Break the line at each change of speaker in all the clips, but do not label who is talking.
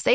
Say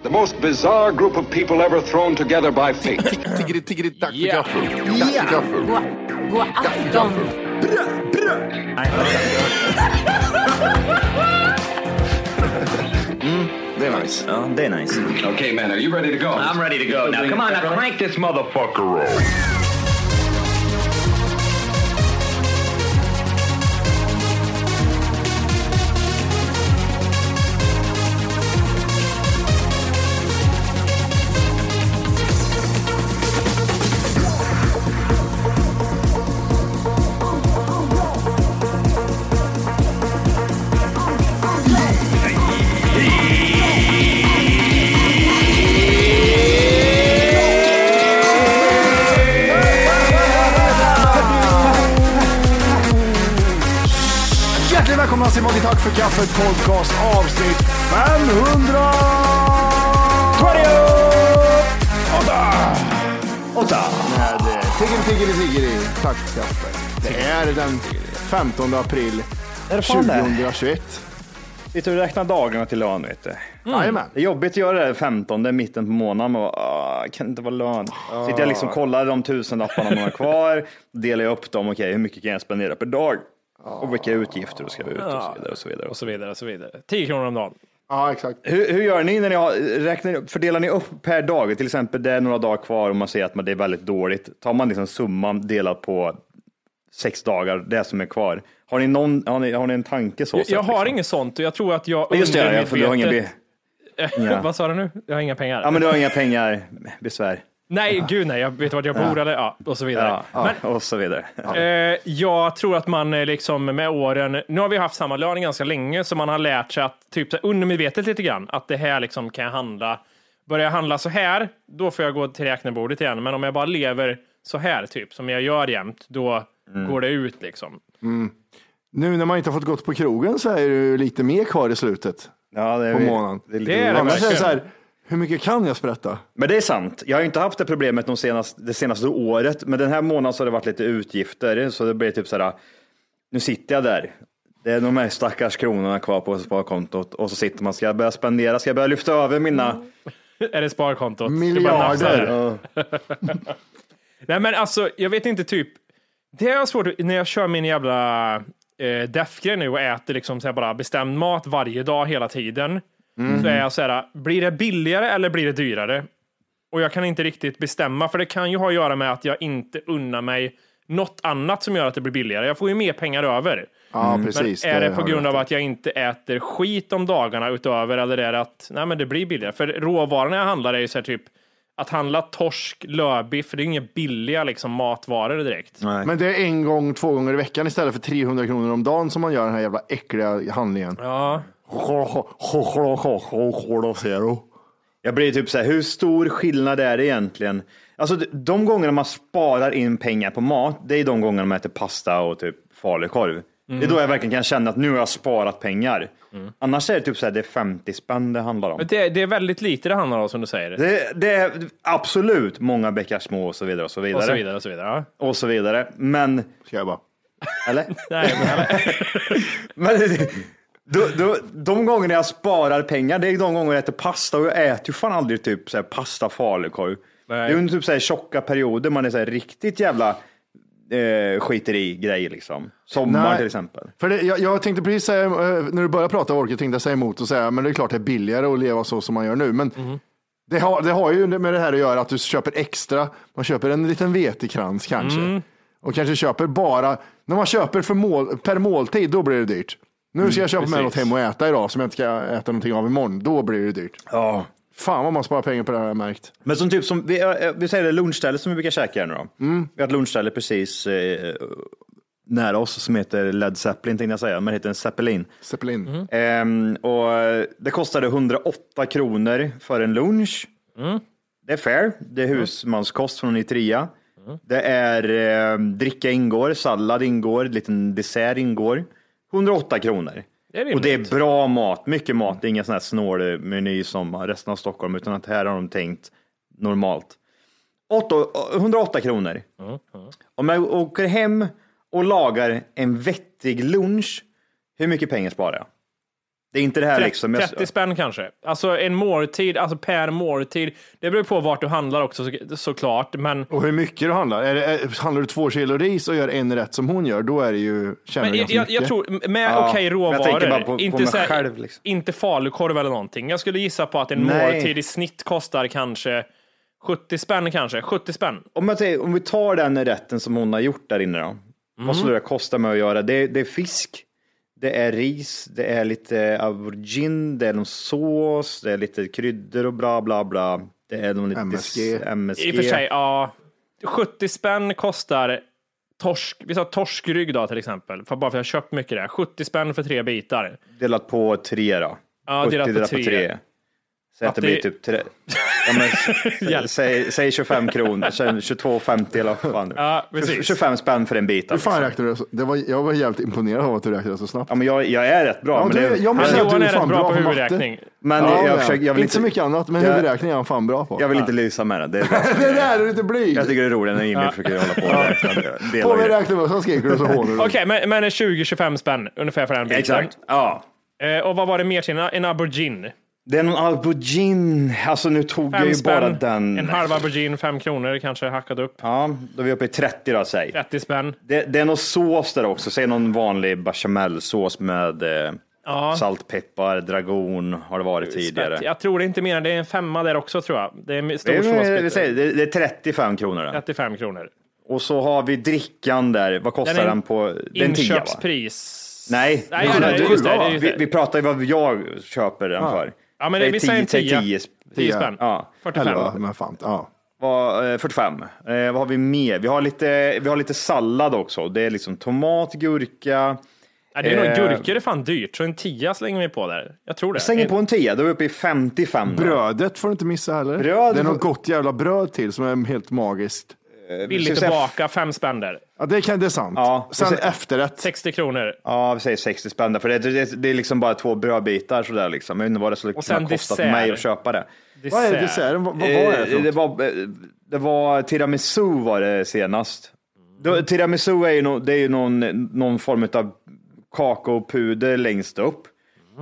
The most bizarre group of people ever thrown together by fate.
Tiggeri, tiggeri, dack för
Ja.
gaffel. Dack för gaffel.
God
Dack för
afton.
gaffel. Det är nice.
Ja, det är nice.
okay, man, are you ready to go?
I'm ready to go. Now come on, now crank this motherfucker up.
Hjärtligt välkomna till Monty Tack för kaffet podcast avsnitt 500! 20! 8! 8! Med eh, Tiggeri Tiggeri Tiggeri Tack för kaffet. Det är den 15 april
Är det fan det?
2021.
Sitter och räknar dagarna till lön vet du.
Jajamän.
Det är jobbigt att göra det här 15, det är mitten på månaden. Man bara, "Ah, kan det inte vara lön. Sitter jag liksom och kollar de tusenlapparna man har kvar. Delar jag upp dem, okej hur mycket kan jag spendera per dag? Och vilka utgifter ska ut och så vidare. Och så vidare.
Och så vidare, och så vidare. 10 kronor om dagen.
Ja, exakt.
Hur, hur gör ni när ni har, räknar, ni upp- fördelar ni upp per dag? Till exempel det är några dagar kvar och man ser att man, det är väldigt dåligt. Tar man liksom summan delat på sex dagar, det som är kvar. Har ni, någon, har ni, har ni en tanke så?
Jag,
sett,
jag har
liksom?
inget sånt och jag tror att jag
Just det, ja, för du har ingen bil. Ja.
Vad sa du nu? Jag har inga pengar.
Ja, men du har inga pengar, besvär
Nej, gud nej, jag vet vart jag bor eller ja, och så vidare.
ja,
men
och så vidare.
eh, jag tror att man eh, liksom med åren, nu har vi haft samma lön ganska länge, så man har lärt sig att typ så här undermedvetet lite grann, att det här liksom kan jag handla. Börjar jag handla så här, då får jag gå till räknebordet igen. Men om jag bara lever så här, typ som jag gör jämt, då
Mm.
går det ut liksom.
Nu när man inte har fått gått på krogen så är det ju lite mer kvar i slutet
Ja, det är,
på
vi-
månaden.
Det är lite
Det är
oroligt.
det
Annars är det
verkligen.
så här, hur mycket kan jag sprätta?
Men det är sant. Jag har ju inte haft det problemet de senaste, det senaste året, men den här månaden så har det varit lite utgifter, så det blir typ så här, nu sitter jag där. Det är de här stackars kronorna kvar på sparkontot och så sitter man, ska jag börja spendera, ska jag börja lyfta över mina?
Är det sparkontot? Det är bara
Miljarder.
nafsar. Nej men alltså, jag vet inte typ. Det är svårt när jag kör min jävla eh, death-grej nu och äter liksom så här bara bestämd mat varje dag hela tiden. Så är jag så här, blir det billigare eller blir det dyrare? Och jag kan inte riktigt bestämma, för det kan ju ha att göra med att jag inte unnar mig något annat som gör att det blir billigare. Jag får ju mer pengar över. Mm.
Ja,
Men
precis.
är det på
har du
grund
rätt
av
i.
att jag inte äter skit om dagarna utöver eller är det att nej, men det blir billigare? För råvarorna jag handlar är ju så här typ att handla torsk, lövbiff, det är ju inga billiga liksom, matvaror direkt.
Men det är en gång, två gånger i veckan istället för 300 kronor om dagen som man gör den här jävla äckliga handlingen.
Ja,
Jag blir typ så här, hur stor skillnad är det egentligen? Alltså d- de gångerna man sparar in pengar på mat, det är de gångerna man äter pasta och typ falukorv. Det är då jag verkligen kan känna att nu har jag sparat pengar. Annars är det typ så här, det är 50 spänn det handlar om.
Men Det, det är väldigt lite det handlar om som du säger.
Det, det är absolut många bäckar små och så vidare och så vidare.
Och så vidare och så vidare. Ja.
Och så vidare. Men,
Ska jag bara.
eller?
Nej, men,
Men det- då, då, de gångerna jag sparar pengar, det är de gånger jag äter pasta och jag äter ju fan aldrig typ så här pasta falukorv. Det är ju under typ så här tjocka perioder man är så här riktigt jävla eh, skiter i grejer liksom. Sommar
Nej.
till exempel.
För det, jag, jag tänkte precis säga, eh, när du började prata orket tänkte jag säga emot och säga, men det är klart det är billigare att leva så som man gör nu. Men
Mhm.
det, har, det har ju med det här att göra att du köper extra. Man köper en liten vetekrans kanske.
Mm.
Och kanske köper bara, när man köper för mål, per måltid, då blir det dyrt. Nu ska jag
Mm,
köpa med något hem och äta idag som jag inte ska äta någonting av imorgon. Då blir det dyrt.
Ja.
Fan vad man sparar pengar på det här har jag märkt.
Men som typ som, vi, eh, vi säger det lunchställe som vi brukar käka här nu då. Vi har ett lunchställe precis eh, nära oss som heter Led Zeppelin tänkte jag säga, men det heter en Zeppelin.
Zeppelin.
Ehm, och eh, det kostade 108 kronor för en lunch.
Mm.
Det är fair. Det är husmanskost från Nitria. Det är eh, dricka ingår, sallad ingår, liten dessert ingår. 108 kronor.
Det är rimligt.
och det är bra mat, mycket mat. Det är ingen sån här snålmeny som resten av Stockholm, utan att här har de tänkt normalt. Åtta- 108 kronor. Om jag åker hem och lagar en vettig lunch, hur mycket pengar sparar jag? Det är inte det här liksom. Jag,
30 spänn kanske. Alltså en måltid, alltså per måltid. Det beror på vart du handlar också så, såklart. Men,
Och hur mycket du handlar. Är det, är, handlar du två kilo ris och gör en rätt som hon gör, då är det ju, tjänar
men
du
jag,
ganska
jag,
mycket.
jag tror, med
Ja,
okej
men jag tänker bara
råvaror,
på- på
inte,
mig
så här,
själv, liksom.
inte falukorv eller någonting. Jag skulle gissa på att en
Nej.
måltid i snitt kostar kanske 70 spänn kanske. 70 spänn.
om, jag säger, om vi tar den rätten som hon har gjort där inne då.
Mm.
Vad skulle det kosta mig att göra? Det, är- det är fisk, det är ris, det är lite aubergine, det är någon sås, det är lite kryddor och bla bla bla. Det är någon lite
MSG.
MSG.
I och för sig, ja. 70 spänn kostar torsk, vi sa torskrygg då till exempel, för bara för jag har köpt mycket där. 70 spänn för tre bitar.
Delat på tre då.
Ja,
70
delat på tre.
Säg att det
Att det-
blir typ tre. Ja, men,
Hjälp.
s- säg, säg 25 kronor, säg 22,50 eller vad fan.
Ja, precis.
25 spänn för en bit.
Hur fan
alltså.
räknade du? så- Det var, jag var jävligt imponerad av att du räknade så snabbt.
Ja, men jag, jag är rätt bra.
Ja,
men
du-
det,
jag måste
men
säga
jag,
att
Johan
du
är rätt
fan
bra
bra
på
på matte.
huvudräkning.
men
Ja,
jag,
men-
försöker, jag vill
inte,
inte,
så mycket annat, men
jag-
huvudräkning är han fan bra på.
Jag vill inte lysa med den. Det är bra.
Det där är du inte blyg.
jag tycker det är roligt när Emil försöker hålla på och räkna.
På med
delar-
räknemössan skriker du så hånar du.
Okej, men, men 20-25 spänn ungefär för den biten.
Exakt. Ja.
Eh, och vad var det mer till? En- En aubergine.
Det är någon aubergine. Alltså nu tog jag
Fem
ju bara
spänn.
den.
En halv aubergine, fem kronor kanske hackat upp.
Ja, då är vi uppe i 30 då, säg.
30 spänn.
Det, det är någon sås där också, säg någon vanlig bechamelsås med eh, saltpeppar, dragon har det varit tidigare.
Jag tror det är inte mer än det är en femma där också tror jag. Det är en
Det
stor
är, vi
såsbit.
säger, det det är 35 kronor. Den.
35 kronor.
Och så har vi drickan där, vad kostar
Den
den,
är
på? Det är en tia va?
Inköpspris.
Nej,
Nej,
vi-
nej, nej, just det, det
är just
vi,
det.
vi pratar ju vad jag köper den för.
Ja, men det-
Säg
vi säger en
säg
tia.
10,
10 spänn.
Ja.
45.
Elva, men fan. Ja.
Vad, eh, 45. Eh, vad har vi mer? Vi har, lite, vi har lite sallad också. Det är liksom tomat, gurka.
Ja, det är nog
Eh,
gurkor är fan dyrt, så en tia slänger vi på där. Jag tror det.
Jag slänger på en 10, då är vi uppe i 55. då.
Brödet får du inte missa heller.
Bröd-
det är något gott jävla bröd till som är helt magiskt.
Ska vi
Billigt
säga
att baka, fem spänn där.
Ja, det, kan, det är sant.
Ja.
Sen
Och sen-
efterrätt.
60 kronor.
Ja, vi säger 60 spänn där, för det, det, det är liksom bara två brödbitar sådär liksom. Jag undrar vad det skulle
Och sen
kunna kosta för
dessert.
mig att köpa det.
Vad är desserten? Vad, vad var det för
Eh, det,
något?
var, eh, det var tiramisu var det senast. Då, tiramisu är ju, no, det är ju någon, någon form av kakaopuder längst upp.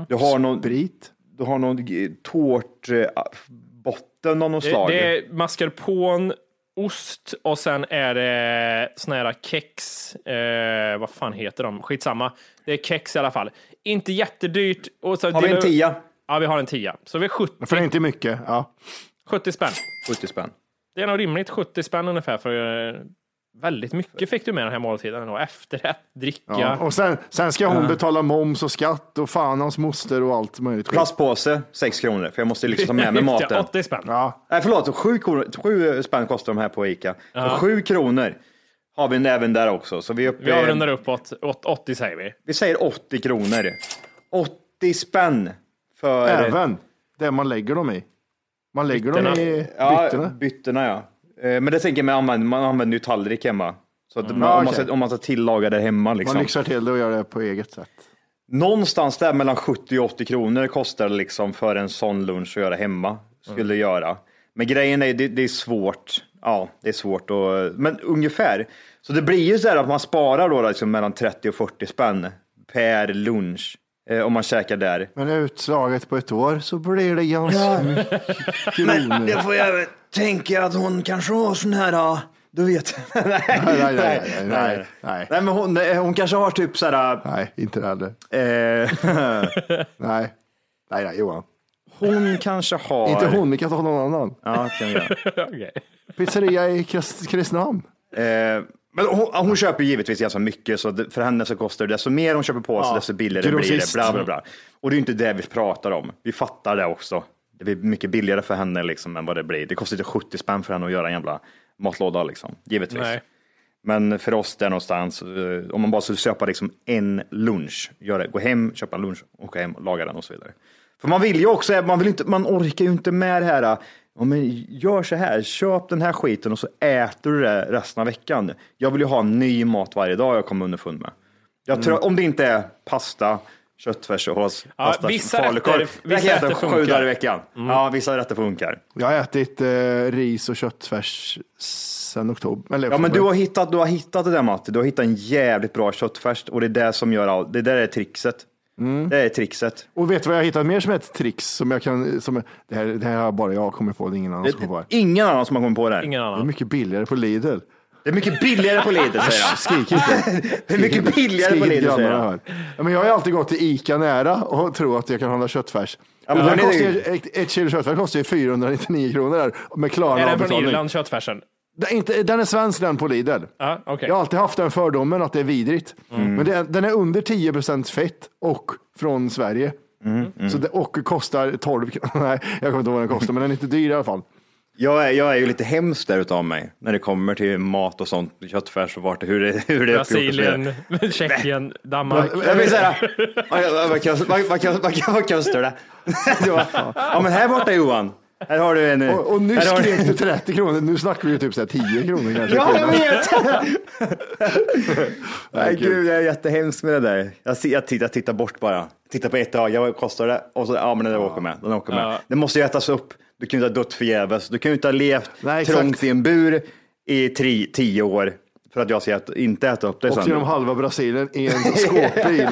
Du har någon,
Sprit?
du har någon g- eh, tårtbotten av något
Det,
slag.
det är mascarpone, ost och sen är det såna här kex. Eh, vad fan heter de? Skitsamma. Det är kex i alla fall. Inte jättedyrt. Och så
har vi en tia?
Ja, vi har en tia. Så vi är 70,
För det är inte mycket. Ja.
70 spänn.
70 spänn.
Det är nog rimligt 70 spänn ungefär för eh, väldigt mycket fick du med den här måltiden. ändå. Efterrätt, dricka.
Ja. Och sen, sen ska hon betala moms och skatt och fan hans moster och allt möjligt. skit.
Plastpåse, 6 kronor, för jag måste liksom ta med mig maten.
80 spänn.
Ja.
Nej, förlåt. 7, kronor, 7 spänn kostar de här på Ica. Så 7 kronor har vi även där också. Så vi, är uppe,
Vi avrundar uppåt. Åt- 80 säger vi.
vi säger 80 kronor. 80 spänn för
Även det man lägger dem i. Man lägger dem i
ja,
byttorna.
byttorna. ja. Eh, Men det tänker jag, man använder, man använder ju tallrik hemma. Så att man, om, man
Mm. okej.
ska, om man ska tillaga det hemma liksom.
Man lyxar till det och gör det på eget sätt.
Någonstans där mellan 70 och 80 kronor kostar det liksom för en sån lunch att göra hemma. Skulle
Mm.
göra. Men grejen är, det, det är svårt. Ja, det är svårt att, men ungefär. Så det blir ju så här att man sparar då liksom mellan 30 och 40 spänn per lunch. Eh, om man käkar där.
Men utslaget på ett år så blir det ganska mycket kronor.
får jag tänka att hon kanske har sån här, du vet. nej,
nej, nej, nej, nej, nej.
men hon, hon kanske har typ så här.
Nej, inte det heller.
Eh,
Nej. Nej, nej, Johan.
hon kanske har.
Inte hon, vi kan ta någon annan.
Ja, kan vi göra.
Okej.
Pizzeria i Kris- Kristinehamn.
Eh, men hon, hon köper givetvis ganska mycket, så det- för henne så kostar det desto mer hon köper på sig, desto billigare blir det.
grossist.
Bla, bla, bla. Och det är ju inte det vi pratar om. Vi fattar det också. Det blir mycket billigare för henne liksom, än vad det blir. Det kostar inte 70 spänn för henne att göra en jävla matlåda, liksom. givetvis.
Nej.
Men för oss där någonstans, eh, om man bara skulle köpa liksom en lunch, göra, gå hem, köpa en lunch, åka hem och laga den och så vidare. För man vill ju också, man, vill inte, man orkar ju inte med det här, eh, ja, men gör så här, köp den här skiten och så äter du det resten av veckan. Jag vill ju ha ny mat varje dag jag kommer underfund med. Jag tror, Om det inte är pasta, köttfärssås,
Mm. Ja,
pasta,
vissa
falukorv.
rätter-
Jag
vissa
kan äta
rätter
sju
funkar. Mm.
dagar i veckan. Ja, vissa rätter funkar.
Jag har ätit eh, ris och köttfärs sen oktober. Eller,
Ja, men du har hittat, du har hittat det där Matti. Du har hittat en jävligt bra köttfärs och det är det som gör allt. Det där är trickset.
Mm.
Det är trickset.
Och vet du vad jag har hittat mer som ett trix? Som jag kan, som, det, här, det här har bara jag kommit på, det är ingen annan som kommer på det.
Ingen annan som har kommit på det här.
Ingen
Det är
annan.
mycket billigare på Lidl.
Det är mycket billigare på Lidl säger han.
Skrik inte.
Det är mycket billigare på
Skrik
Lidl säger
grannarna
han.
hör. Ja, men jag har ju alltid gått till Ica nära och tror att jag kan handla köttfärs.
Ja, men
Och den
hörni,
kostar,
det är
ju- ett, ett kilo köttfärs kostar ju 499 kronor där med klara
Är den från
avbetalning.
Irland, köttfärsen?
Den, är inte, den är svensk den på Lidl.
Ah,
Ja, okej.
Jag har alltid haft den fördomen att det är vidrigt.
Mm.
Men det, är- den är under 10 procent fett och från Sverige.
Mm,
Så det, och kostar 12 kronor. Nej, jag kommer inte ihåg vad den kostar, men den är inte dyr i alla fall.
Jag är, jag är ju lite hemsk där utav mig när det kommer till mat och sånt, köttfärs och vart, hur det, hur det är uppgjort och så vidare.
Brasilien, Tjeckien, Danmark.
Jag vill säga, vad kostar vad- vad kostar- vad- vad kostar det? Det var- Ja men här borta Johan, här har du en...
Och, och nu
här har du-
skrek du 30 kronor, nu snackar vi ju typ så här 10 kronor kanske.
Ja, jag vet! Nej,
kul.
gud, jag är jättehemsk med det där. Jag, si- jag, tittar, jag tittar bort bara. Tittar på ett öga, ja, vad kostar det? Och så, ja men den där åker med. Den åker med.
Ja.
Den måste ju ätas upp. Du kan ju inte ha dött förgäves. Du kan ju inte ha levt
Nej, exakt.
trångt i en bur i tri, tio år för att jag ska ät, inte äta upp det
Och genom
sen.
halva Brasilien i en skåpbil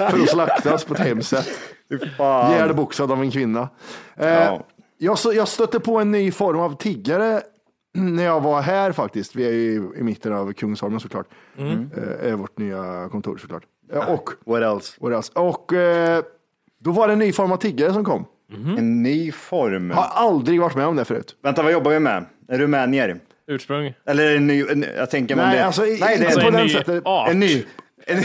för att slaktas på ett hemskt sätt.
Fy fan.
Ihjälboxad av en kvinna. Eh,
Ja.
jag, så, jag stötte på en ny form av tiggare när jag var här faktiskt. Vi är ju i mitten av Kungsholmen såklart.
Mm.
Eh, är vårt nya kontor såklart. Eh, och
What else?
what else? Och eh, då var det en ny form av tiggare som
Mm.
kom.
En ny form.
Har aldrig varit med om det förut.
Vänta, vad jobbar vi med? Rumänier?
Ursprung.
Eller en ny? En, jag tänker mig om
Nej,
det.
alltså, i-
Nej, det
inte
är
på
en,
en
den
ny
sättet.
art.
en ny. En,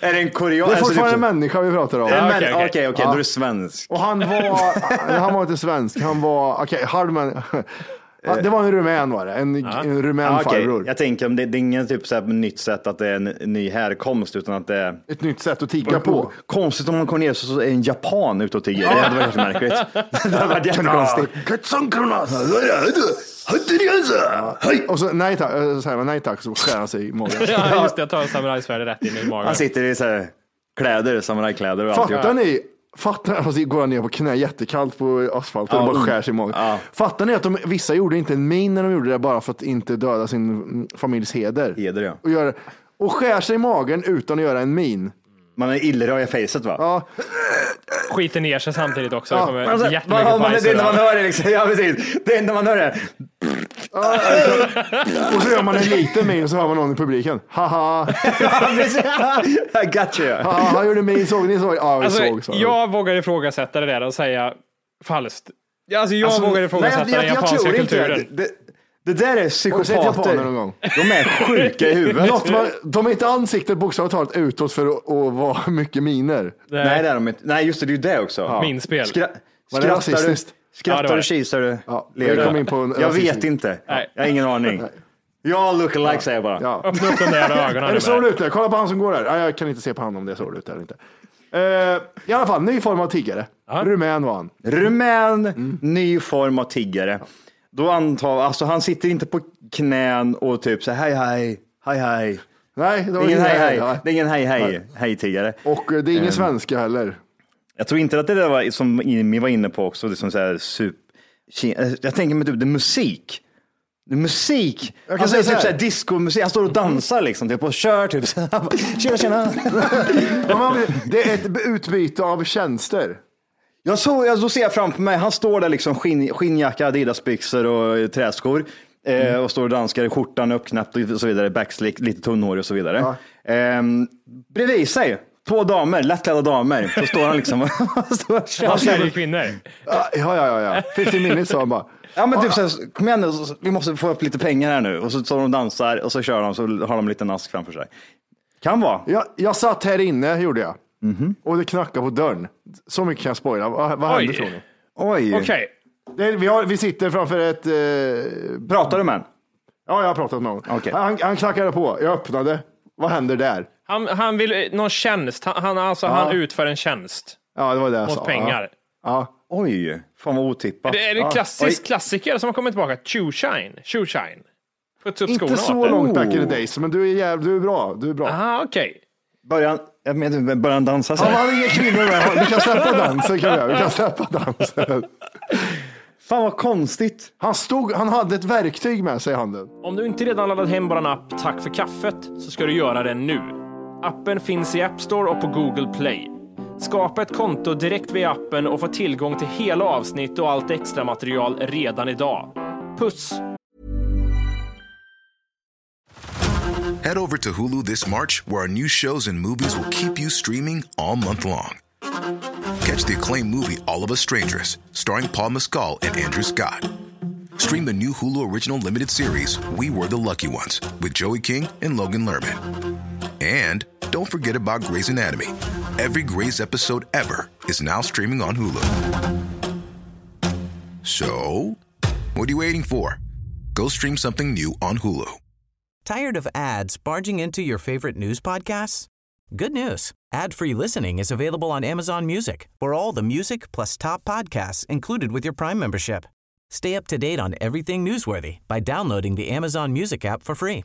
är det en korean?
Det är
alltså,
fortfarande en
typ-
människa vi pratar om.
Är det en
Ja,
män-
okej,
Okej,
okej.
okej,
Ja.
då är du svensk.
Och han var, han var inte svensk, han var, okej, halvmän. Det var en rumän var det, en, en rumän
Eh. Ja, okej.
farbror.
Jag tänker om det, det är ingen typ så här nytt sätt att det är en ny härkomst utan att det är
Ett nytt sätt att tigga på.
Konstigt om man kommer ner så så är en japan ute och tigger. Det hade varit märkligt. Det hade varit jättekonstigt.
Och så nej tack, eh, så säger man nej tack så skär han sig i magen.
Ja, just det. Jag tar samurajsvärdet rätt in i magen.
Han
Alltså-
sitter i så här kläder, samurajkläder och
Fattar
alltihop.
ni? Fattar ni? Alltså, går han ner på knä jättekallt på asfalten
Ja.
och bara skär sig i magen.
Ja.
Fattar ni att de, vissa gjorde inte en min när de gjorde det bara för att inte döda sin mm, familjs heder?
Heder, ja.
Och, gör, och skär sig i magen utan att göra en min.
Man är illröd i fejset va?
Ja,
Skiter ner sig samtidigt också. Det kommer
alltså,
Man, så, här,
jättemycket
man, man,
bajs
det enda man
överallt.
hör är liksom, ja precis. Det enda man hör är,
och så gör man en liten min och så hör man någon i publiken. Haha,
ja, precis. I got you.
haha, han gjorde min, såg ni? Såg? ni? Ja, vi såg.
Alltså,
Så.
jag vågar ifrågasätta det där och säga falskt. Alltså, jag
Alltså,
vågar ifrågasätta
Nej, jag-
den
jag- jag
japanska
tror inte det.
kulturen.
Det, det där är
Har du sett
psykopater.
japaner någon gång?
De är sjuka i huvudet.
Något man, de är inte ansiktet bokstavligt talat utåt för att, att vara mycket miner.
Nej, det är de inte. Nej, just det, det är ju det också.
Minspel.
Skra-
Var det
skrattar du,
rasistiskt?
Ja, det
skrattar
var
du,
det.
kisar du,
Ja,
ler
vi
du?
kom in på en
Jag
rasistisk-
vet inte.
Nej.
Jag har ingen aning. Jag look alike säger jag bara.
Ja.
Öppna upp de där ögonen.
Är det
nu
så
med.
det ut där? Kolla på han som går där. Ja, jag kan inte se på han om det är så det ut där eller inte. Eh, I alla fall, ny form av tiggare. Rumän var han.
Rumän, ny form av tiggare. Då antar alltså han sitter inte på knän och typ så här, hej hej, hej hej.
Nej, det
Det
var
är ingen hej hej,
nej.
det är ingen hej hej, hej tiggare.
Och eh, det är ingen svenska heller.
Jag tror inte att det där var, som Jimmy var inne på också, det som så här super... Jag tänker mig typ det är musik. Det är musik.
kan
han
säga
säger
så här.
typ såhär discomusik. Han står och dansar liksom typ och kör typ. så här. tjena tjena.
Men man- Det är ett utbyte av tjänster.
Jag såg, jag, då ser jag framför mig, han står där liksom skinn, skinnjacka, Adidas-byxor och eh, träskor. Eh, Och står och danskar i skjortan uppknäppt och så vidare, backslick, lite tunnhårig och så vidare. Ehm, bredvid sig, två damer, lättklädda damer. Då står han liksom och står och
Han
kör.
säljer kvinnor.
Alltså, Ja, ja, ja. ja. 50 minutes sa han bara.
Ja men typ såhär, kom igen nu, så- så- vi måste få upp lite pengar här nu. Och så står de och dansar och så kör de, så har de en liten ask framför sig. Kan vara.
Jag, jag satt här inne, gjorde jag.
Mhm.
Och det knackade på dörren. Så mycket kan jag spoila. Vad, vad
Oj.
hände tror ni?
Oj.
Okej.
Det, vi, har, vi sitter framför ett... Eh,
Pratar du med en?
ja, jag har pratat med honom.
Okej.
Han, han knackade på. Jag öppnade. Vad händer där?
Han, han vill eh, någon tjänst. Han, han, alltså, han utför en tjänst
Alltså, Ja, det var det jag sa.
mot pengar.
Ja.
Oj, fan vad otippat.
Det är en klassisk klassiker som har kommit tillbaka. Shoe shine. Shoe shine. Putsa upp
Ja.
skorna
Inte så
åt dig.
långt back in the
Oh.
days, men du är, jäv, du är bra. Du är bra.
Ah, okej.
Början, jag menar, början dansa så
Han
här.
hade inga kvinnor med. Vi kan släppa dansen. Kan vi, göra. vi kan släppa dansen.
Fan vad konstigt.
Han, stod, han hade ett verktyg med sig i handen.
Om du inte redan laddat hem bara en app Tack för kaffet så ska du göra det nu. Appen finns i App Store och på Google Play. Skapa ett konto direkt via appen och få tillgång till hela avsnitt och allt extra material redan idag. Puss!
Head over to Hulu this March, where our new shows and movies will keep you streaming all month long. Catch the acclaimed movie All of Us Strangers, starring Paul Mescal and Andrew Scott. Stream the new Hulu original limited series We Were the Lucky Ones with Joey King and Logan Lerman. And don't forget about Grey's Anatomy. Every Grey's episode ever is now streaming on Hulu. So, what are you waiting for? Go stream something new on Hulu.
Tired of ads barging into your favorite news podcasts? Good news. Ad-free listening is available on Amazon Music. For all the music plus top podcasts included with your Prime membership. Stay up to date on everything newsworthy by downloading the Amazon Music app for free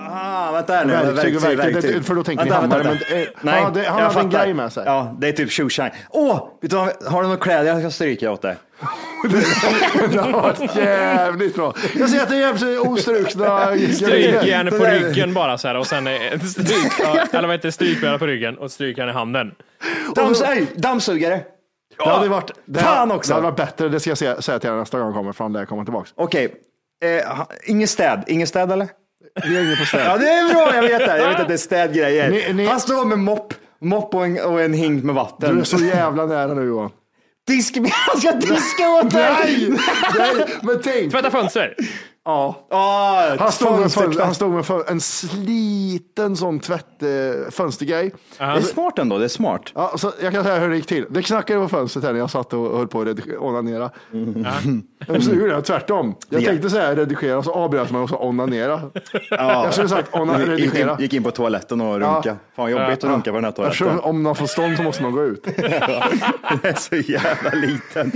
Ah, vänta här nu.
Verktyg och verktyg. Det- för då tänker vi hammare, men, eh, ja, det- han
jag
hade en
fattar.
grej med sig.
Ja, det är typ tjoshang. Åh, vet du vad, har du några kläder jag ska stryka åt dig?
Det var jävligt bra. Jag ser att det är jävligt ostrukna grejer.
Strykjärn på
där-
ryggen bara så här och sen eh, stryk, ja, eller vad heter det, strykjärn på ryggen och strykjärn i handen.
Dams, ej, dammsugare.
Det hade varit, det,
Fan också.
Det hade varit bättre, det ska jag säga, säga till er nästa gång jag kommer fram där jag kommer tillbaka.
Okej, eh, ha- ingen städ. Ingen städ eller?
Vi är inne på städ.
Ja, det är bra. Jag vet det. Jag vet att det är städgrejer.
Ni- ni-
Han står med mopp. Mopp och en, och en hink med vatten.
Du är så jävla nära nu Johan.
Disk, han ska diska åt dig!
Nej, nej men tänk.
Tvätta fönster!
Ja.
Ah,
Han stod med, fön,
fönstertvätt.
han stod med fön, en sliten sån tvätt, eh, fönstergrej.
Det är smart ändå. Det är smart.
Ja, så jag kan säga hur det gick till. Det knackade på fönstret här när jag satt och höll på att redig- onanera. Mm. Så gjorde jag tvärtom. Jag
Ja.
tänkte så här redigera, så avbröt man och så onanera.
Ja.
Jag skulle sagt ona,
gick, in,
redigera.
gick in på toaletten och runka. Fan jobbigt att runka på den här
Eftersom,
toaletten.
om man får stånd så måste man gå ut.
Den är så jävla liten.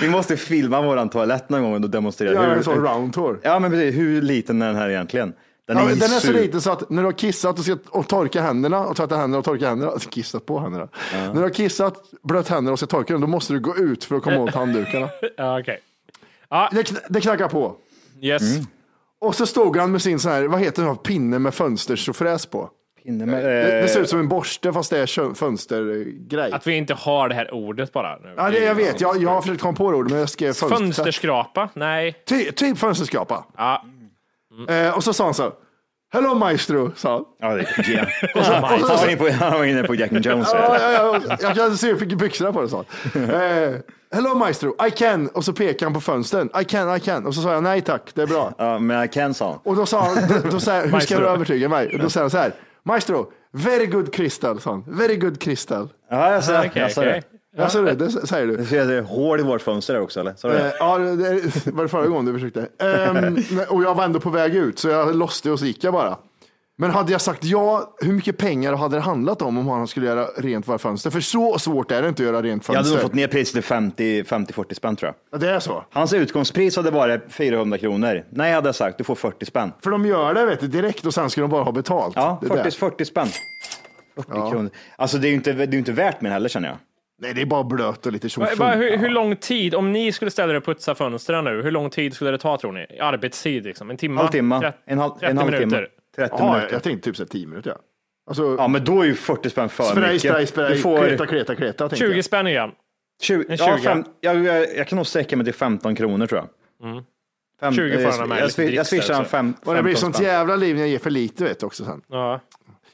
Vi måste filma våran toalett någon gång och demonstrera.
Jag är
hur,
en sån round tour.
ja, men precis. Hur liten är den här egentligen? Den,
Ja,
är,
men den är så
super-
liten så att när du har kissat och, ska, och torka händerna och tvätta händerna och torka händerna, alltså kissat på händerna. När du har kissat, blött händerna och ska torka dem, då måste du gå ut för att komma åt handdukarna.
Ja, okej.
Det, kn- det knackar på.
Yes.
Mm. Och så stod han med sin sån här, vad heter den, här pinne med fönsterchaufförs på.
Inne med-
Det, det ser
eh,
ut som en borste fast det är kö- fönstergrej.
Att vi inte har det här ordet bara. Nu.
Ja, det, jag vet, jag, jag har försökt komma på det ordet men jag skrev fönster.
Fönsterskrapa? Nej.
Ty, typ fönsterskrapa.
Ja.
Eh, och så sa han så här, Hello maestro, sa han.
Ja, det är yeah. Han var inne på- han var inne på Jack and Jones.
Ja, ja, ja, jag kan se byxorna på det, sa han. Eh, Hello maestro, I can. Och så pekade han på fönstren. I can, I can. Och så sa jag nej tack, det är bra.
Ja, men jag kan sa han.
Och då sa han, då, då sa jag, hur ska
Maestro.
du övertyga mig? Och då sa han så här, maestro, very good crystal, sa han. Very good crystal.
Ja, jag sa
Okej,
jag sa det.
okej.
Ja, så är det, det säger du.
Du ser att det är hål i vårt fönster där också eller? Så
Eh,
det,
Ja, det det var det förra gången du försökte. Ehm, nej, och jag var ändå på väg ut, så jag lossade och så gick jag bara. Men hade jag sagt ja, hur mycket pengar hade det handlat om om han skulle göra rent våra fönster? För så svårt är det inte att göra rent
jag hade
fönster.
nog fått ner priset till 50 50-40 spänn tror jag.
Ja, Det är så.
Hans utgångspris hade varit 400 kronor. Nej, hade jag sagt, du får 40 spänn.
För de gör det vet du, direkt och sen ska de bara ha betalt.
Ja,
Det är
40,
det.
40 spänn. 40 kronor. Alltså det är ju inte, det är ju inte värt mer heller känner jag.
Nej, det är bara blöt och lite tjong
Bara, hur, hur lång tid, om ni skulle ställa er och putsa fönstren nu, hur lång tid skulle det ta tror ni? Arbetstid liksom? En timme?
Halvtimme,
Trett-
en, halv,
30
en halvtimme,
minuter?
30
Ja, jag,
minuter.
jag tänkte typ så här 10 minuter. Ja. Alltså,
Ja, men då är ju 40 spänn för
spray,
mycket.
spray, spray,
du får
kleta, kleta, kleta. tänkte
20
jag.
spänn igen.
20,
en
ja,
20.
fem, jag, jag, jag kan nog sträcka mig till 15 kronor tror jag.
Mm.
Fem,
20 får
jag,
han ha med
jag,
lite
jag,
dricks
swishar
där,
han
så.
fem,
Och det blir
15
sånt
spänn.
jävla liv när jag ger för lite vet du också sen.
Ja.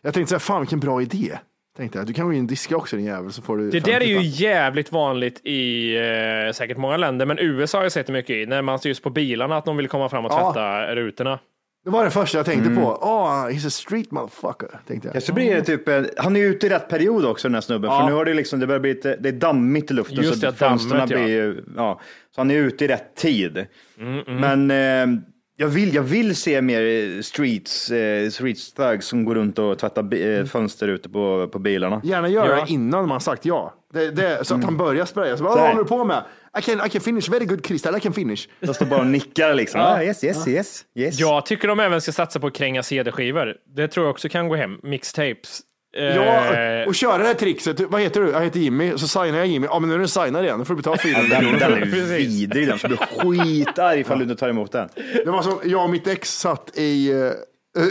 Jag tänkte så här, fan vilken bra idé. Tänkte jag, du kan gå in och diska också din jävel så får du
Det där är
50
ju
spänn.
jävligt vanligt i eh, säkert många länder, men USA har jag sett det mycket i, när man ser just på bilarna att de vill komma fram och
Ja.
tvätta rutorna.
Det var det första jag tänkte
Mm.
på. Ah, he's a street motherfucker, tänkte jag.
Ja, så blir det typ, en- han är ju ute i rätt period också den här snubben, för nu har det liksom, det börjar bli lite, det är dammigt i luften.
Just
så
det,
fönsterna
dammet, ja.
blir ju, ja. Så han är ute i rätt tid.
Mm,
Men eh, jag, vill, jag vill se mer eh, streets, eh, streets thugs som går runt och tvättar bi,
Mm.
eh, fönster ute på, på bilarna.
Gärna göra
Ja.
det innan man sagt ja. Det, det, så att han börjar spraya. Så bara,
Mm. Så
vad
här.
håller du på med? I can, I can finish, very good Crystal, I can finish.
De står bara och nickar liksom. Ah, yes, yes, yes. yes.
Jag tycker de även ska satsa på att kränga CD-skivor. Det tror jag också kan gå hem. Mixtapes. Eh,
Ja, och köra det här trixet. Vad heter du? Jag heter Jimmy. Så signar jag Jimmy. Ja, men nu är den signad igen. Då får du betala 400
Den, den
kronor.
är ju
Precis.
vidrig den, så du blir skitarg ifall du inte tar emot den.
Det var som, jag och mitt ex satt i, eh,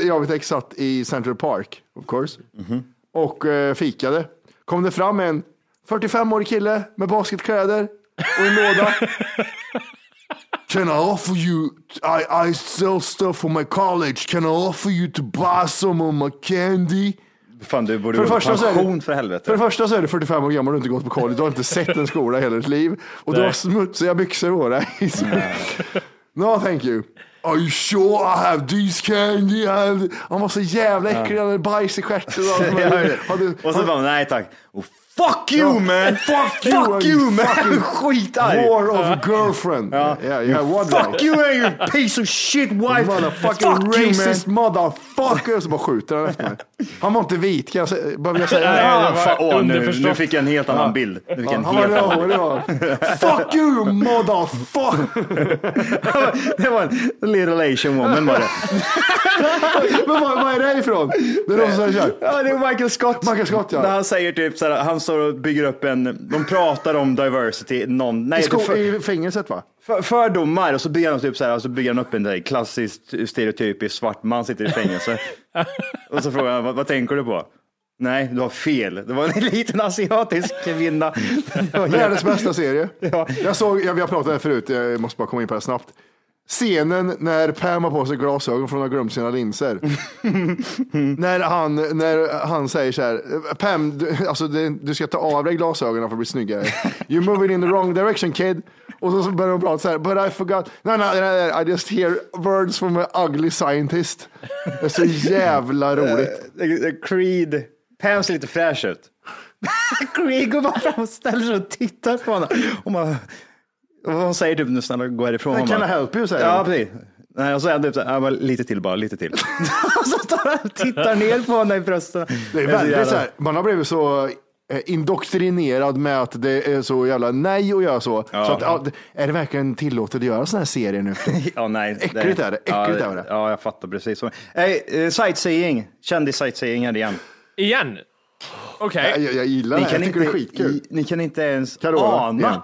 jag och mitt ex satt i Central Park, of course, och eh, fikade. Kom det fram en 45-årig kille med basketkläder och en låda. Can I offer you, I, I sell stuff for my college, can I offer you to buy some of my candy?
Fan, du borde
För
gå
det,
på
första så är
pension
det,
för helvete.
för det första så är du 45 år gammal och inte gått på college. Du har inte sett en skola i hela ditt liv. Och du
Nej.
har smutsiga byxor på dig. Så- No thank you. Are you sure I have these candy? I have... Han var så jävla äcklig. Han hade bajs i stjärten. och allt
Jag
möjligt.
hör det.
Hade-
och så
han-
bara, nej tack. Oh, fuck you
Ja.
man!
Fuck you,
fuck
you
you man!
fucking
Skitarg!
War of girlfriend. Ja. Yeah, you have one
Fuck
now.
you and your piece of shit wife!
Motherfucking
fuck you
racist
man!
motherfucker. Så bara skjuter han efter mig. Han var inte vit kan jag säga. Behöver jag säga det?
Ah,
det var
fan, åh, nu,
underförstått.
nu fick jag en helt annan bild. Nu fick jag en
Han var
helt annan
rödhårig. va? Fuck you motherfucker.
Det var en little asian woman var det.
Men vad, vad är det här ifrån? Det är de som kör.
Ja, det är Michael Scott.
Michael Scott, ja.
När han säger typ så här, han står och bygger upp en, de pratar om diversity, någon, nej,
I,
det
sko-
är för,
I fängelset va?
för, fördomar och så bygger han typ så här, och så bygger han upp en där klassisk stereotypisk svart man sitter i fängelse. och så frågar han, vad, vad tänker du på? Nej, du har fel. Det var en liten asiatisk kvinna. Det var jävla-
Världens bästa serie. Jag såg, ja, vi har pratat om det förut, jag måste bara komma in på det här snabbt. Scenen när Pam har på sig glasögon för hon har glömt sina linser. när, han, när han säger så här, Pam, du, alltså, det- du ska ta av dig glasögonen för att bli snyggare. You're moving in the wrong direction kid. Och så, så börjar de prata så här, but I forgot, no, no, no, no, I just hear words from an ugly scientist. Det är så jävla roligt. eh,
Creed. Pam ser lite fräsch ut. Creed går bara fram och ställer sig och tittar på honom. Hon, bara, och hon säger typ nu snälla gå härifrån. Hon
Can
bara,
I help you, säger
Ja,
hon.
precis. Nej, och så är han typ så här, ja, bara, lite till bara, lite till. och så står han och tittar ner på henne i brösten.
Det är väldigt så här, man har blivit så eh, indoktrinerad med att det är så jävla nej att göra så. så att, ja, är det verkligen tillåtet att göra sådana här serier nu?
Ja, nej,
Äckligt är det, äckligt
ja,
är det.
Ja, jag fattar precis. Hey, eh, sightseeing, kändis-sightseeing här igen.
Igen? Okej.
jag, jag gillar det, jag tycker det är skitkul.
i- ni kan inte ens
Carola,
ana.
igen.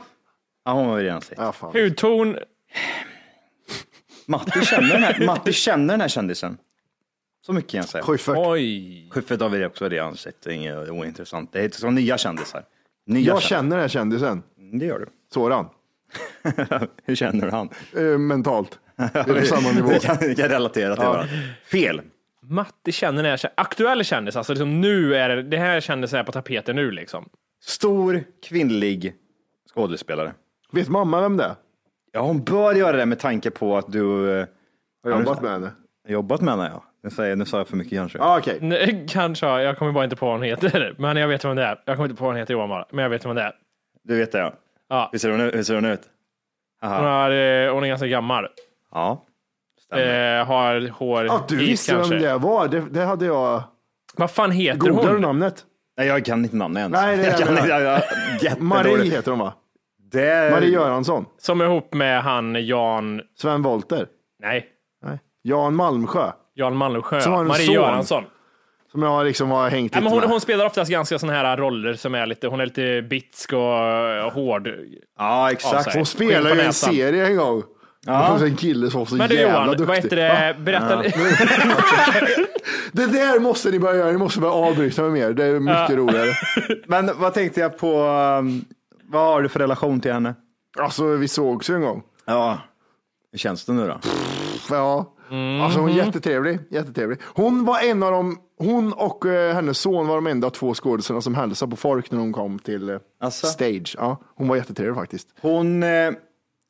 Ja, hon har vi redan sett.
Ja, fan.
Hudton.
Matti känner den här, Matti känner den här kändisen. Så mycket kan jag säga.
Schyffert.
Oj.
Schyffert har vi också redan sett, det är inget ointressant. Det är så nya kändisar. Nya
Jag känner den här kändisen,
kändisar. Det gör du.
Soran,
Hur känner du han?
eh, mentalt. Det är på samma nivå.
Vi kan, vi kan relatera till varandra. Fel.
Matti känner den här kä- aktuell kändis, alltså liksom nu är det, det här kändisen är på tapeten nu liksom.
Stor kvinnlig skådespelare.
Vet mamma vem det är?
Ja, hon bör göra det med tanke på att du eh,
Har jag jobbat med henne?
har jobbat med henne. Ja. Nu, säger, nu sa jag för mycket kanske.
Ah, Okej,
Mm. Nej, Kanske, jag kommer bara inte på vad hon heter. Men jag vet vem det är. Jag kommer inte på vad hon heter Johan bara. Men jag vet vem det är.
Du vet det ja.
Ja.
Hur ser hon ut? Hur ser hon ut?
Hon,
Haha.
har, eh, hon är ganska gammal.
Ja. Stämmer.
Eh, har hår
Ja, du
i
visste
kanske.
vem det var. Det, det hade jag.
Vad fan heter
Googlade du
hon?
namnet?
Nej, jag kan inte namnet ens.
Nej, det är
jag kan
det.
inte. Jag, jag,
Marie
jättedålig.
heter hon va?
Det är...
Marie Göransson.
Som är ihop med han Jan...
Sven Volter.
Nej.
Nej. Jan Malmsjö.
Jan Malmsjö.
Som har en
Marie
son.
Göransson.
Som jag liksom har hängt
Nej,
lite
men hon,
med.
hon spelar oftast ganska såna här roller som är lite, hon är lite bitsk och, och hård.
Ja,
Ja,
exakt.
så här.
Hon spelar ju
på
en
näsan.
serie en gång. Det fanns en kille som var så
Men du
jävla
Johan,
duktig.
vad heter det? Berätta lite.
Det där måste ni börja göra. Ni måste börja avbryta mig mer. Det är mycket roligare.
Men vad tänkte jag på? um, Vad har du för relation till henne?
Alltså, vi sågs ju en gång.
Ja. Hur känns det nu då?
Ja.
Mm.
Alltså, hon är jättetrevlig. jättetrevlig. Hon var en av de, hon och eh, hennes son var de enda två skådespelarna som hälsade på folk när de kom till eh,
Asså?
Alltså?
stage. Ja, hon var jättetrevlig faktiskt.
Hon eh,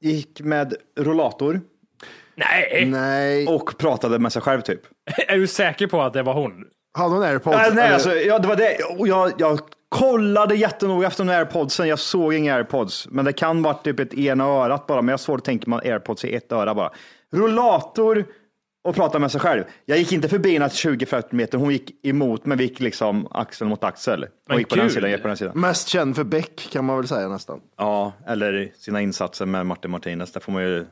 gick med rollator
Nej,
Nej,
och pratade med sig själv typ.
är du säker på att det var hon?
hade hon airpods?
Äh, nej,
Eller-
alltså, ja, det var det. Och Jag, jag kollade jättenoga efter de här airpodsen. Jag såg inga airpods, men det kan vara typ ett ena örat bara. Men jag har svårt att tänka mig airpods i ett öra bara. Rollator och prata med sig själv. Jag gick inte förbi henne 20-40 meter. Hon gick emot, men vi gick liksom axel mot axel. Hon
Men
gick på den
gud.
sidan, jag gick på den sidan.
Mest känd för Beck kan man väl säga nästan.
Ja, eller sina insatser med Martin Martinez. Där får man ju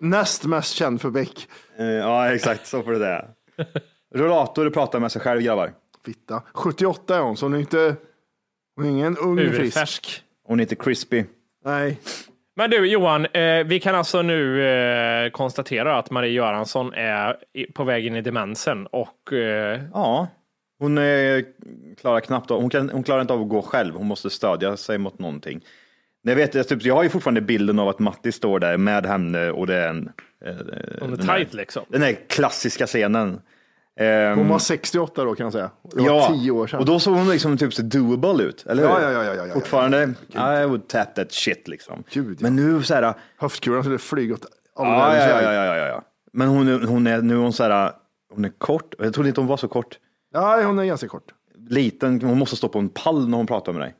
Näst mest känd för Beck.
Eh, Ja, exakt. Så får det det. Rollator och prata med sig själv, grabbar.
Fitta. 78 är hon, så hon är inte, hon är ingen ung frisk.
Urfärsk.
Hon är inte crispy.
Nej.
Men du Johan, eh, vi kan alltså nu eh, konstatera att Marie Göransson är i, på väg in i demensen och eh,
Ja, hon eh, klarar knappt av, hon, kan, hon klarar inte av att gå själv. Hon måste stödja sig mot någonting. Jag, vet, jag, typ, jag har ju fortfarande bilden av att Matti står där med henne och det är en, eh,
hon är
den, här,
tight liksom.
den här klassiska scenen. Ehm,
Hon var 68 då kan jag säga. Det var
ja,
10 år sedan.
och då såg hon liksom typ så doable ut, eller hur?
Ja, ja, ja, ja, ja, ja.
Fortfarande, I would tap that shit liksom.
Gud, ja.
Men nu så här,
Höftkulan skulle flyga åt alla
Ja,
världens
ja, ja,
väg.
ja, ja, ja, ja. Men hon, är- hon är, nu är hon så här, hon är kort. Jag trodde inte hon var så kort.
Nej, hon är ganska kort.
Liten, hon måste stå på en pall när hon pratar med dig.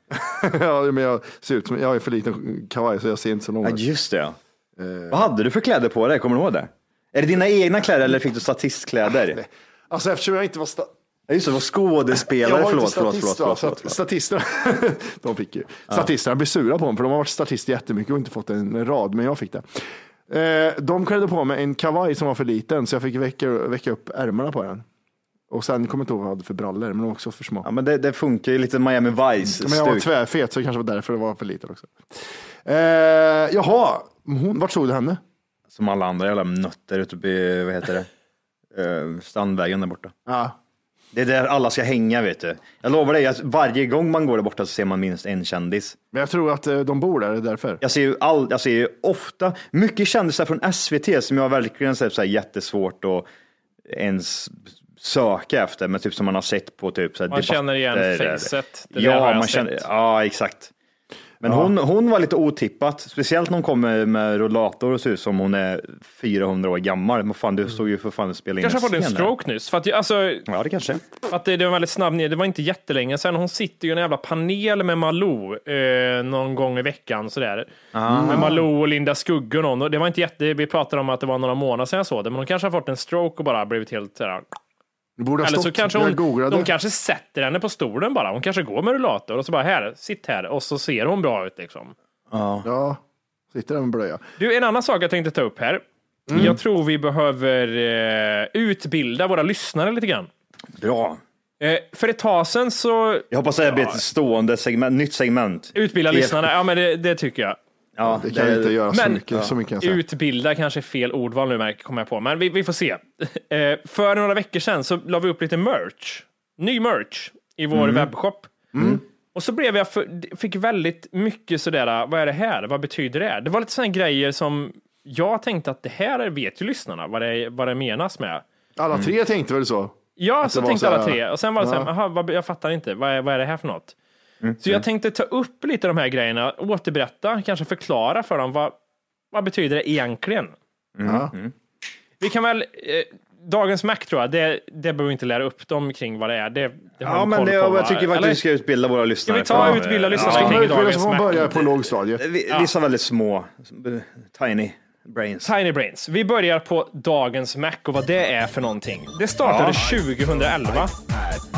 ja, men jag ser ut som, jag är för liten kavaj så jag ser inte så lång
Ja,
ut.
just det. ja.
Eh.
Vad hade du för kläder på dig? Kommer du ihåg det? Är det dina egna kläder eller fick du statistkläder?
Alltså eftersom jag inte var, sta-
Ja, just det, det var skådespelare.
jag var
Förlåt,
inte
förlåt,
statist
förlåt,
va?
förlåt,
Så
förlåt,
att
förlåt.
Statisterna, de fick ju. Statisterna blir sura på dem för de har varit statister jättemycket och inte fått en rad, men jag fick det. Eh, De klädde på mig en kavaj som var för liten så jag fick väcka, väcka upp ärmarna på den. Och sen kommer jag inte ihåg vad jag hade för brallor, men de var också för små.
Ja, men det, det funkar ju lite Miami Vice-stuk.
Mm, Men jag var tvärfet så det kanske var därför det var för liten också. Eh, jaha, hon, vart såg du henne?
Som alla andra jävla nötter ute på, vad heter det? Eh, Strandvägen där borta.
Ja,
Det är där alla ska hänga, vet du. Jag lovar dig, att varje gång man går där borta så ser man minst en kändis.
men jag tror att eh, de bor där, det är därför.
Jag ser ju, all, jag ser ju ofta, mycket kändisar från SVT som jag verkligen sett så här jättesvårt att ens söka efter, men typ som man har sett på typ så här
Man känner igen
debatter.
facet. Det där har
Ja,
jag
man
sett.
känner, ja, exakt. Men hon, hon var lite otippat, speciellt när hon kom med, med rollator och ser ut som hon är 400 år gammal. Men fan,
Mm.
du stod ju för fan och spelade in
Kanske har fått en
scen där.
stroke nyss. För att, jag- alltså,
Ja, det kanske.
För Att det, det var väldigt snabb ner. Det var inte jättelänge sedan. Hon sitter ju i en jävla panel med Malou eh, någon gång i veckan. Sådär.
Ah.
Med Malou och Linda Skugge och någon. Och Det var inte jätte, vi pratade om att det var några månader sedan jag såg det, men hon kanske har fått en stroke och bara blivit helt... Sådär.
Det borde ha
Eller så
stått,
kanske
jag
hon,
googlade.
de kanske sätter henne på stolen bara. Hon kanske går med rullator och så bara här, sitt här. Och så ser hon bra ut liksom.
Ja, sitter där med blöja.
Du, en annan sak jag tänkte ta upp här.
Mm.
Jag tror vi behöver eh, utbilda våra lyssnare lite grann.
Bra.
Eh, för ett tag sedan så
Jag hoppas det här blir ett stående segment, nytt segment.
Utbilda
Det-
lyssnarna, ja men det, det tycker jag.
Ja,
Det kan jag inte göra så
men-
mycket, så mycket kan jag säga.
Utbilda kanske är fel ordval nu märker- kommer jag på, men vi, vi får se. Eh, För några veckor sedan så la vi upp lite merch, ny merch i vår
Mm.
webbshop. Mm. Och så blev jag för, fick väldigt mycket sådär, vad är det här? Vad betyder det? här? Det var lite sådana grejer som jag tänkte att det här vet ju lyssnarna vad det, vad det menas med.
Alla tre tänkte väl så?
Ja,
Att
så
det var
tänkte
så här-
alla tre. Och sen var det så här, aha, vad, jag fattar inte, vad är, vad är det här för något?
Mm,
Så jag tänkte ta upp lite de här grejerna, återberätta, kanske förklara
Mm,
för dem vad, vad betyder det egentligen?
Ja.
Vi kan väl eh, dagens Mac tror jag, det, det behöver vi inte lära upp dem kring vad det är. Det, det har
Ja,
de
men
koll
det,
på, va?
jag tycker faktiskt
Eller?
vi ska utbilda våra
Ska
lyssnare.
vi ta och
för-
utbilda lyssnarna
Ska
kring
man utbilda så
dagens
får man
Mac?
börja på lågstadiet.
Vi- Vissa väldigt små, tiny brains.
Tiny Brains. Vi börjar på dagens Mac och vad det är för någonting. Det startade 2011.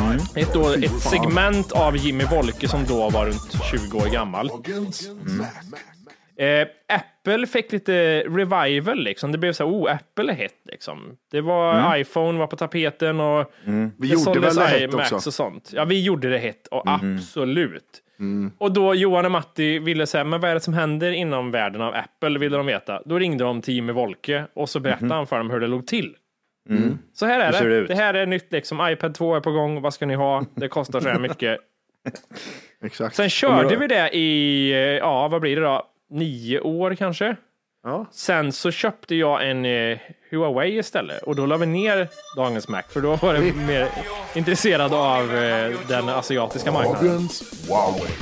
Mm.
Ett, då, ett segment av Jimmy Wolke som då var runt 20 år gammal.
Mm.
Eh, Apple fick lite revival liksom. Det blev så här, oh, Apple är hett liksom. Det var iPhone var på tapeten och
Mm. Vi
det
gjorde väl
såldes
det hett
iMacs
också. Mm.
och sånt. Ja, vi gjorde det hett och absolut. Och då Johan och Matti ville säga, men vad är det som händer inom världen av Apple? Ville de veta. Då ringde de till Jimmy Wolke och så berättade han för dem hur det låg till. Så här är
Mhm. Mm. ser
det.
det
Det,
ut?
här är nytt liksom. iPad 2 är på gång. Vad ska ni ha? Det kostar så här mycket.
Exakt.
Sen körde vi det i, eh, ja vad blir det då? Nio år kanske?
Ja.
Sen så köpte jag en eh, Huawei istället och då la vi ner dagens Mac för då var det mer intresserad av eh, den asiatiska marknaden.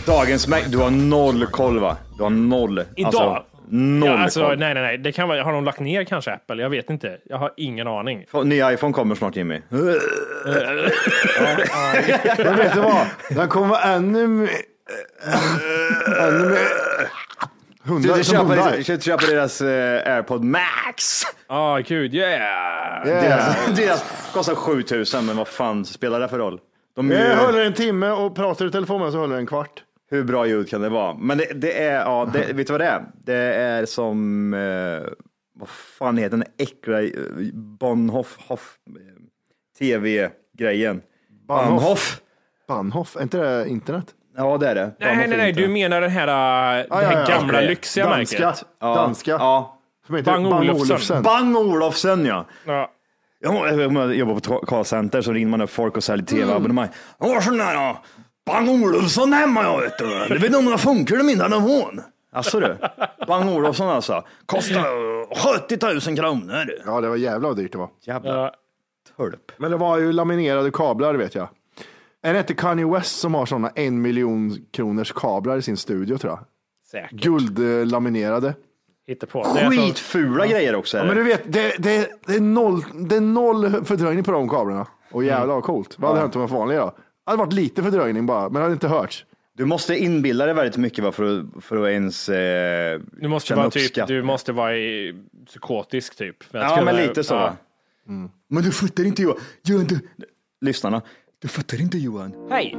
Dagens Mac, du har noll koll va? Du har noll.
Idag?
Alltså, noll
Ja, alltså,
koll.
nej, nej, nej. Det kan vara, har de lagt ner kanske Apple? Jag vet inte. Jag har ingen aning.
Nya iPhone kommer snart
Eh,
Jimmy.
Men vet du vad? Den kommer vara ännu mer... ännu mer...
Du
Hundar
ska
som
köpa,
hundar.
köpa, köpa deras eh, AirPod Max.
Ja, gud, yeah!
Yeah.
Deras, deras kostar 7000 men vad fan spelar det för roll? De
Jag
är ju,
håller en timme och pratar i telefon med så håller den en kvart.
hur bra ljud kan det vara? Men det, det är, ja, det, vet du vad det är? Det är som, eh, vad fan heter den äckliga eh, Bonhoff, Hoff, eh, tv-grejen?
Bahnhof.
Bahnhof.
Bahnhof, är inte det internet?
Ja det är det. Bahnhof
Nej,
är
nej, nej.
inte.
Du menar den här, eh, det här
ja, ja.
gamla lyxiga
Danska.
märket?
ja,
Danska.
Ja.
Som heter
Bang
Bang,
Olufsen.
Olufsen.
Bang Olofsen ja.
Ja.
Jag jag jobbar på callcenter så ringer man upp folk och säljer tv-abonnemang. Jag har sån där ja, Bang Olufsen hemma jag vet du. Du vet inte om det funkar i min telefon. Alltså du, Bang Olufsen alltså. Kostar eh, 70 000 kronor.
Ja, det var jävla dyrt det var.
Jävla
Ja.
tölp.
Men det var ju laminerade kablar vet jag. Är det inte Kanye West som har sådana en miljon kronors kablar i sin studio tror jag?
Säkert.
Guldlaminerade.
Hitta på. Det är så-
Skitfula grejer också. Är
Men
det.
du vet, det, det, det, är noll, det är noll fördröjning på de kablarna. Och jävlar vad coolt. Vad hade hänt om jag var vanlig då? Det hade varit lite fördröjning bara, men det hade inte hörts.
Du måste inbilla dig väldigt mycket va, för, att, för att ens eh,
Du måste,
känna
vara
upp
typ,
skatt.
du måste vara i psykotisk typ. För att
Ja,
kunna-
men lite så.
Ja.
Men du fattar inte Johan. Johan du... Lyssnarna. Du fattar inte Johan.
Hej!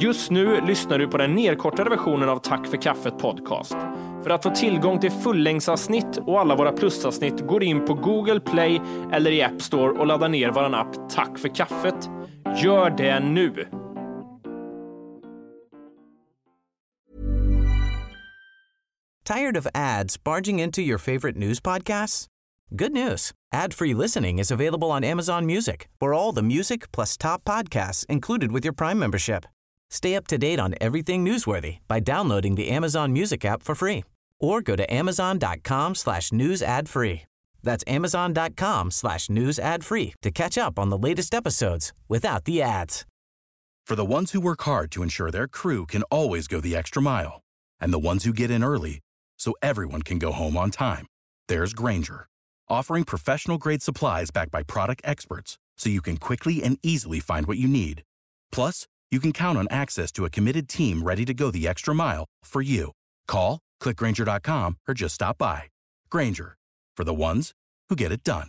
Just nu lyssnar du på den nedkortade versionen av Tack för kaffet podcast. För att få tillgång till fullängdsavsnitt och alla våra plusavsnitt går in på Google Play eller i App Store och laddar ner vår app Tack för kaffet. Gör det nu!
Tired of ads barging into your favorite news podcasts? Good news. Ad-free listening is available on Amazon Music for all the music plus top podcasts included with your Prime membership. Stay up to date on everything newsworthy by downloading the Amazon Music app for free or go to amazon.com slash news ad free. That's amazon.com slash news ad free to catch up on the latest episodes without the ads.
For the ones who work hard to ensure their crew can always go the extra mile, and the ones who get in early so everyone can go home on time, there's Granger, offering professional grade supplies backed by product experts so you can quickly and easily find what you need. Plus, you can count on access to a committed team ready to go the extra mile for you. Call, clickgranger.com, or just stop by. Granger, for the ones who get it done.